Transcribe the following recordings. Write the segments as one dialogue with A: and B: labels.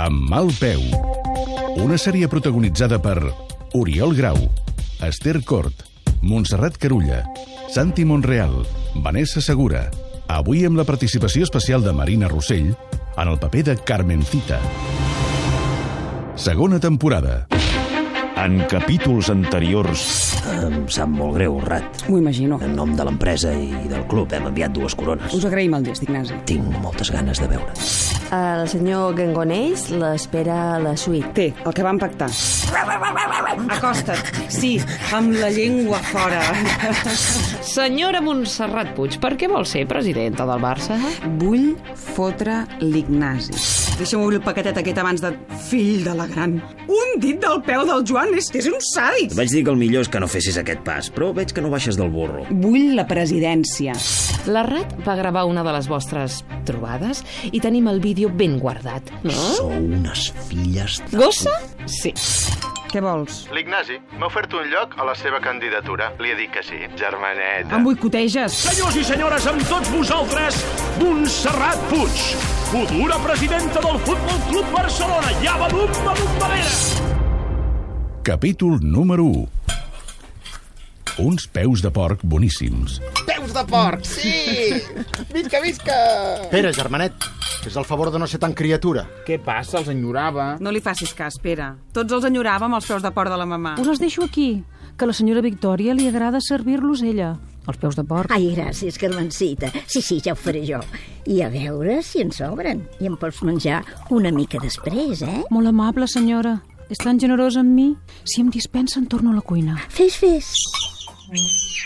A: Amb mal peu. Una sèrie protagonitzada per Oriol Grau, Esther Cort, Montserrat Carulla, Santi Monreal, Vanessa Segura. Avui amb la participació especial de Marina Rossell en el paper de Carmencita. Segona temporada.
B: En capítols anteriors...
C: Em sap molt greu, Rat.
D: M'ho imagino.
C: En nom de l'empresa i del club hem enviat dues corones.
D: Us agraïm el gest, Ignasi.
C: Tinc moltes ganes de veure't.
E: El senyor Gangonells l'espera a la suite.
D: Té, el que vam pactar.
F: Acosta't, sí, amb la llengua fora.
G: Senyora Montserrat Puig, per què vol ser presidenta del Barça?
D: Vull fotre l'Ignasi.
F: Deixa'm obrir el paquetet aquest abans de... Fill de la gran. Un dit del peu del Joan és, és un sàdic.
C: Et vaig dir que el millor és que no fessis aquest pas, però veig que no baixes del burro.
D: Vull la presidència.
G: La Rat va gravar una de les vostres trobades i tenim el vídeo ben guardat, no?
C: Sou unes filles... de-
G: Gossa? Sí.
D: Què vols?
H: L'Ignasi m'ha ofert un lloc a la seva candidatura. Li he dit que sí, germaneta.
F: Em boicoteges.
I: Senyors i senyores, amb tots vosaltres, Montserrat Puig, futura presidenta del Futbol Club Barcelona. Ja va dum, va dum, va
A: Capítol número 1. Uns peus de porc boníssims.
J: Peus de porc, sí! Visca, visca!
I: Pere, germanet, fes el favor de no ser tan criatura.
K: Què passa? Els enyorava.
F: No li facis cas, Pere. Tots els enyoràvem els peus de porc de la mamà.
L: Us els deixo aquí, que a la senyora Victòria li agrada servir-los ella. Els peus de porc.
M: Ai, gràcies, Carmencita. Sí, sí, ja ho faré jo. I a veure si en sobren. I em pots menjar una mica després, eh?
L: Molt amable, senyora. És tan generosa amb mi. Si em dispensa, en torno a la cuina.
M: Fes, fes.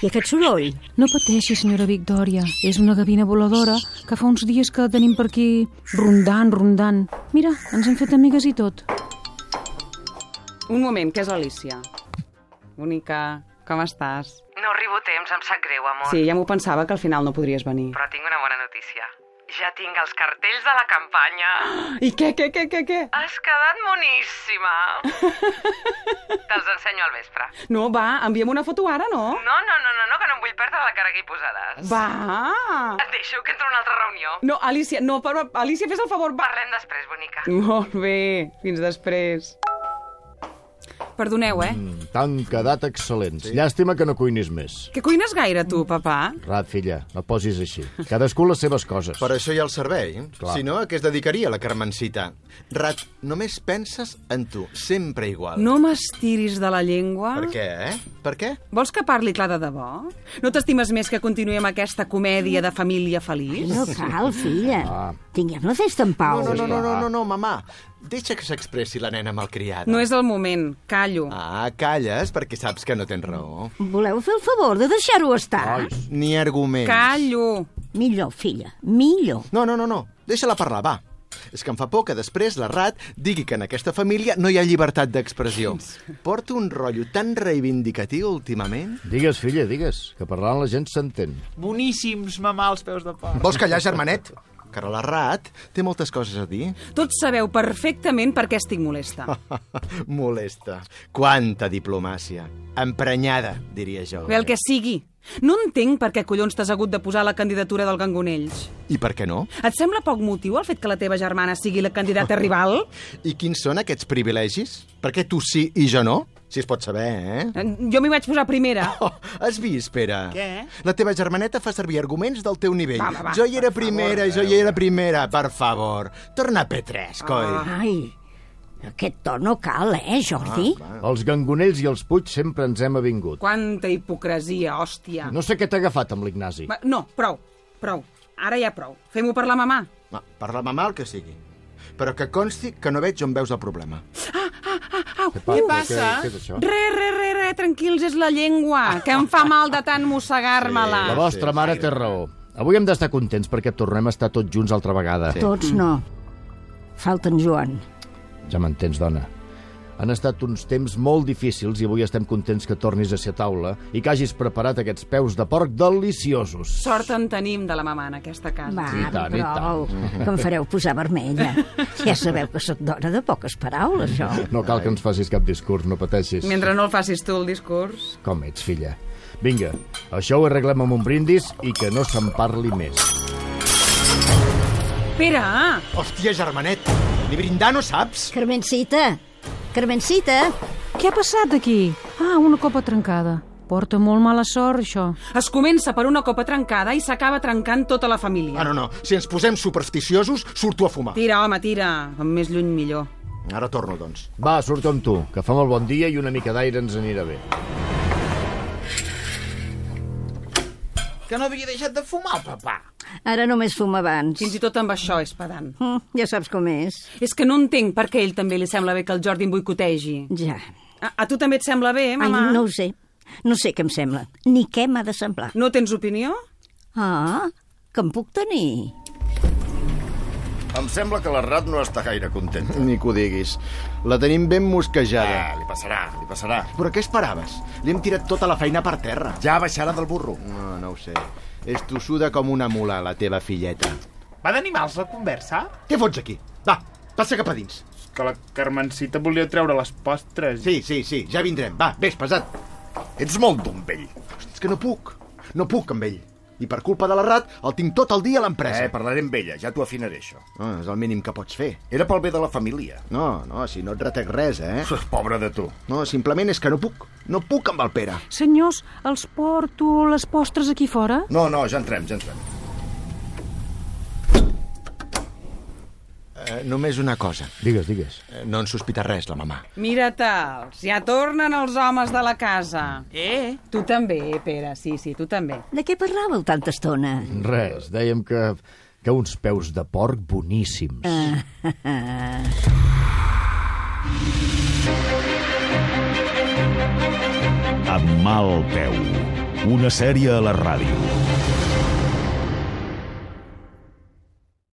M: I aquest soroll?
L: No pateixi, senyora Victòria. És una gavina voladora que fa uns dies que tenim per aquí rondant, rondant. Mira, ens hem fet amigues i tot.
D: Un moment, que és l'Alícia. Bonica, com estàs?
F: No arribo a temps, em sap greu, amor.
D: Sí, ja m'ho pensava que al final no podries venir.
F: Però tinc una bona notícia. Ja tinc els cartells de la campanya.
D: I què, què, què, què, què?
F: Has quedat moníssima. Te'ls ensenyo al vespre.
D: No, va, envia'm una foto ara, no?
F: No, no, no, no, no, que no em vull perdre la cara aquí posaràs.
D: Va!
F: Et deixo que entro a una altra reunió.
D: No, Alicia, no, per... Alicia, fes el favor, va.
F: Parlem després, bonica.
D: Molt bé, fins després. Perdoneu, eh?
H: Mm.
I: Mm,
K: T'han quedat excel·lents. Sí. Llàstima que no cuinis més.
D: Que cuines gaire, tu, papà?
K: Rat, filla, no et posis així. Cadascú les seves coses.
H: Per això hi ha el servei. Clar. Si no, a què es dedicaria la Carmencita? Rat, només penses en tu, sempre igual.
D: No m'estiris de la llengua.
H: Per què, eh? Per què?
D: Vols que parli clar de debò? No t'estimes més que continuï amb aquesta comèdia de família feliç?
M: No cal, filla. Tinguem la festa en pau.
H: Ah. No, no, no, no, no, no, no mamà. Deixa que s'expressi la nena malcriada.
D: No és el moment. Callo.
H: Ah, calles perquè saps que no tens raó.
M: Voleu fer el favor de deixar-ho estar? Ai.
H: Ni arguments.
D: Callo.
M: Millor, filla, millor.
H: No, no, no, no. Deixa-la parlar, va. És que em fa por que després la Rat digui que en aquesta família no hi ha llibertat d'expressió. Porta un rotllo tan reivindicatiu últimament.
I: Digues, filla, digues, que parlant la gent s'entén.
J: Boníssims, mamà, els peus de porc.
H: Ah. Vols callar, germanet? Car la Rat té moltes coses a dir.
D: Tots sabeu perfectament per què estic molesta.
H: Molesta. Quanta diplomàcia. Emprenyada, diria jo.
D: Bé, el que sigui. No entenc per què collons t'has hagut de posar la candidatura del Gangonells.
H: I per què no?
D: Et sembla poc motiu el fet que la teva germana sigui la candidata rival?
H: I quins són aquests privilegis? Per què tu sí i jo no? Si es pot saber, eh?
D: Eh, Jo m'hi vaig posar primera.
H: Oh, has vist, Pere?
D: Què?
H: La teva germaneta fa servir arguments del teu nivell.
D: Va, va, va,
H: jo hi era primera, jo hi era primera, per favor. Torna a P3,
D: Ah.
H: coi.
M: Ai, aquest to no cal, eh, Jordi?
H: Ah,
I: Els gangonells i els Puig sempre ens hem avingut.
D: Quanta hipocresia, hòstia.
I: No sé què t'ha agafat amb l'Ignasi.
D: Va, no, prou, prou. Ara ja prou. Fem-ho per la mamà.
H: Va, parla mamà el que sigui. Però que consti que no veig on veus el problema.
D: Au,
I: Què passa? Què, què és això?
D: Ah, uh. Re, re, re, re, tranquils, és la llengua, que em fa mal de tant mossegar-me-la.
I: La vostra mare té raó. Avui hem d'estar contents perquè tornem a estar tots junts altra vegada.
M: Tots no. Falta en Joan.
I: Ja m'entens, dona.
K: Han estat uns temps molt difícils i avui estem contents que tornis a ser a taula i que hagis preparat aquests peus de porc deliciosos.
D: Sort en tenim de la mamà en aquesta casa.
M: Va,
K: Sí, i tant, i
M: prou,
K: tant.
M: que em fareu posar vermella. Ja sabeu que sóc dona de poques paraules, jo.
K: No cal que ens facis cap discurs, no pateixis.
D: Mentre no el facis tu, el discurs.
K: Com ets, filla? Vinga, això ho arreglem amb un brindis i que no se'n parli més.
D: Pere! ah,
H: Hòstia, germanet, ni brindar no saps?
M: Carmencita, Carmencita.
L: Què ha passat aquí? Ah, una copa trencada. Porta molt mala sort, això.
D: Es comença per una copa trencada i s'acaba trencant tota la família.
H: Ah, no, no. Si ens posem supersticiosos, surto a fumar.
D: Tira, home, tira. Com més lluny, millor.
H: Ara torno, doncs.
K: Va, surt amb tu, que fa molt bon dia i una mica d'aire ens anirà bé.
J: Que no havia deixat de fumar, papà.
M: Ara només fuma abans.
D: Fins i tot amb això és pedant.
M: Mm, ja saps com és.
D: És que no entenc per què a ell també li sembla bé que el Jordi em boicotegi.
M: Ja.
D: A, a tu també et sembla bé,
M: Ai,
D: mamà?
M: no ho sé. No sé què em sembla, ni què m'ha de semblar.
D: No tens opinió?
M: Ah, que en puc tenir.
N: Em sembla que la Rat no està gaire content.
H: Ni que ho diguis. La tenim ben mosquejada.
N: Ah, li passarà, li passarà.
H: Però què esperaves? Li hem tirat tota la feina per terra.
N: Ja baixarà del burro.
H: No, no ho sé. És tossuda com una mula, la teva filleta.
J: Va d'animals la conversa?
H: Què fots aquí? Va, passa cap a dins.
J: Que la Carmencita volia treure les postres.
H: Sí, sí, sí, ja vindrem. Va, vés, pesat.
N: Ets molt d'un vell.
H: És que no puc. No puc amb ell. I per culpa de la rat el tinc tot el dia a l'empresa.
N: Eh, parlaré amb ella, ja t'ho afinaré, això.
H: No, és el mínim que pots fer.
N: Era pel bé de la família.
H: No, no, si no et retec res, eh?
N: Pobre de tu.
H: No, simplement és que no puc. No puc amb el Pere.
L: Senyors, els porto les postres aquí fora?
N: No, no, ja entrem, ja entrem.
H: Eh, només una cosa.
K: Digues, digues.
H: Eh, no en sospita res, la mamà.
D: Mira tals, ja tornen els homes de la casa. Eh? Tu també, Pere, sí, sí, tu també.
M: De què parlàveu tanta estona?
K: Res, dèiem que, que uns peus de porc boníssims.
M: Ah, ah, ah.
B: Amb mal peu. Una sèrie a la ràdio.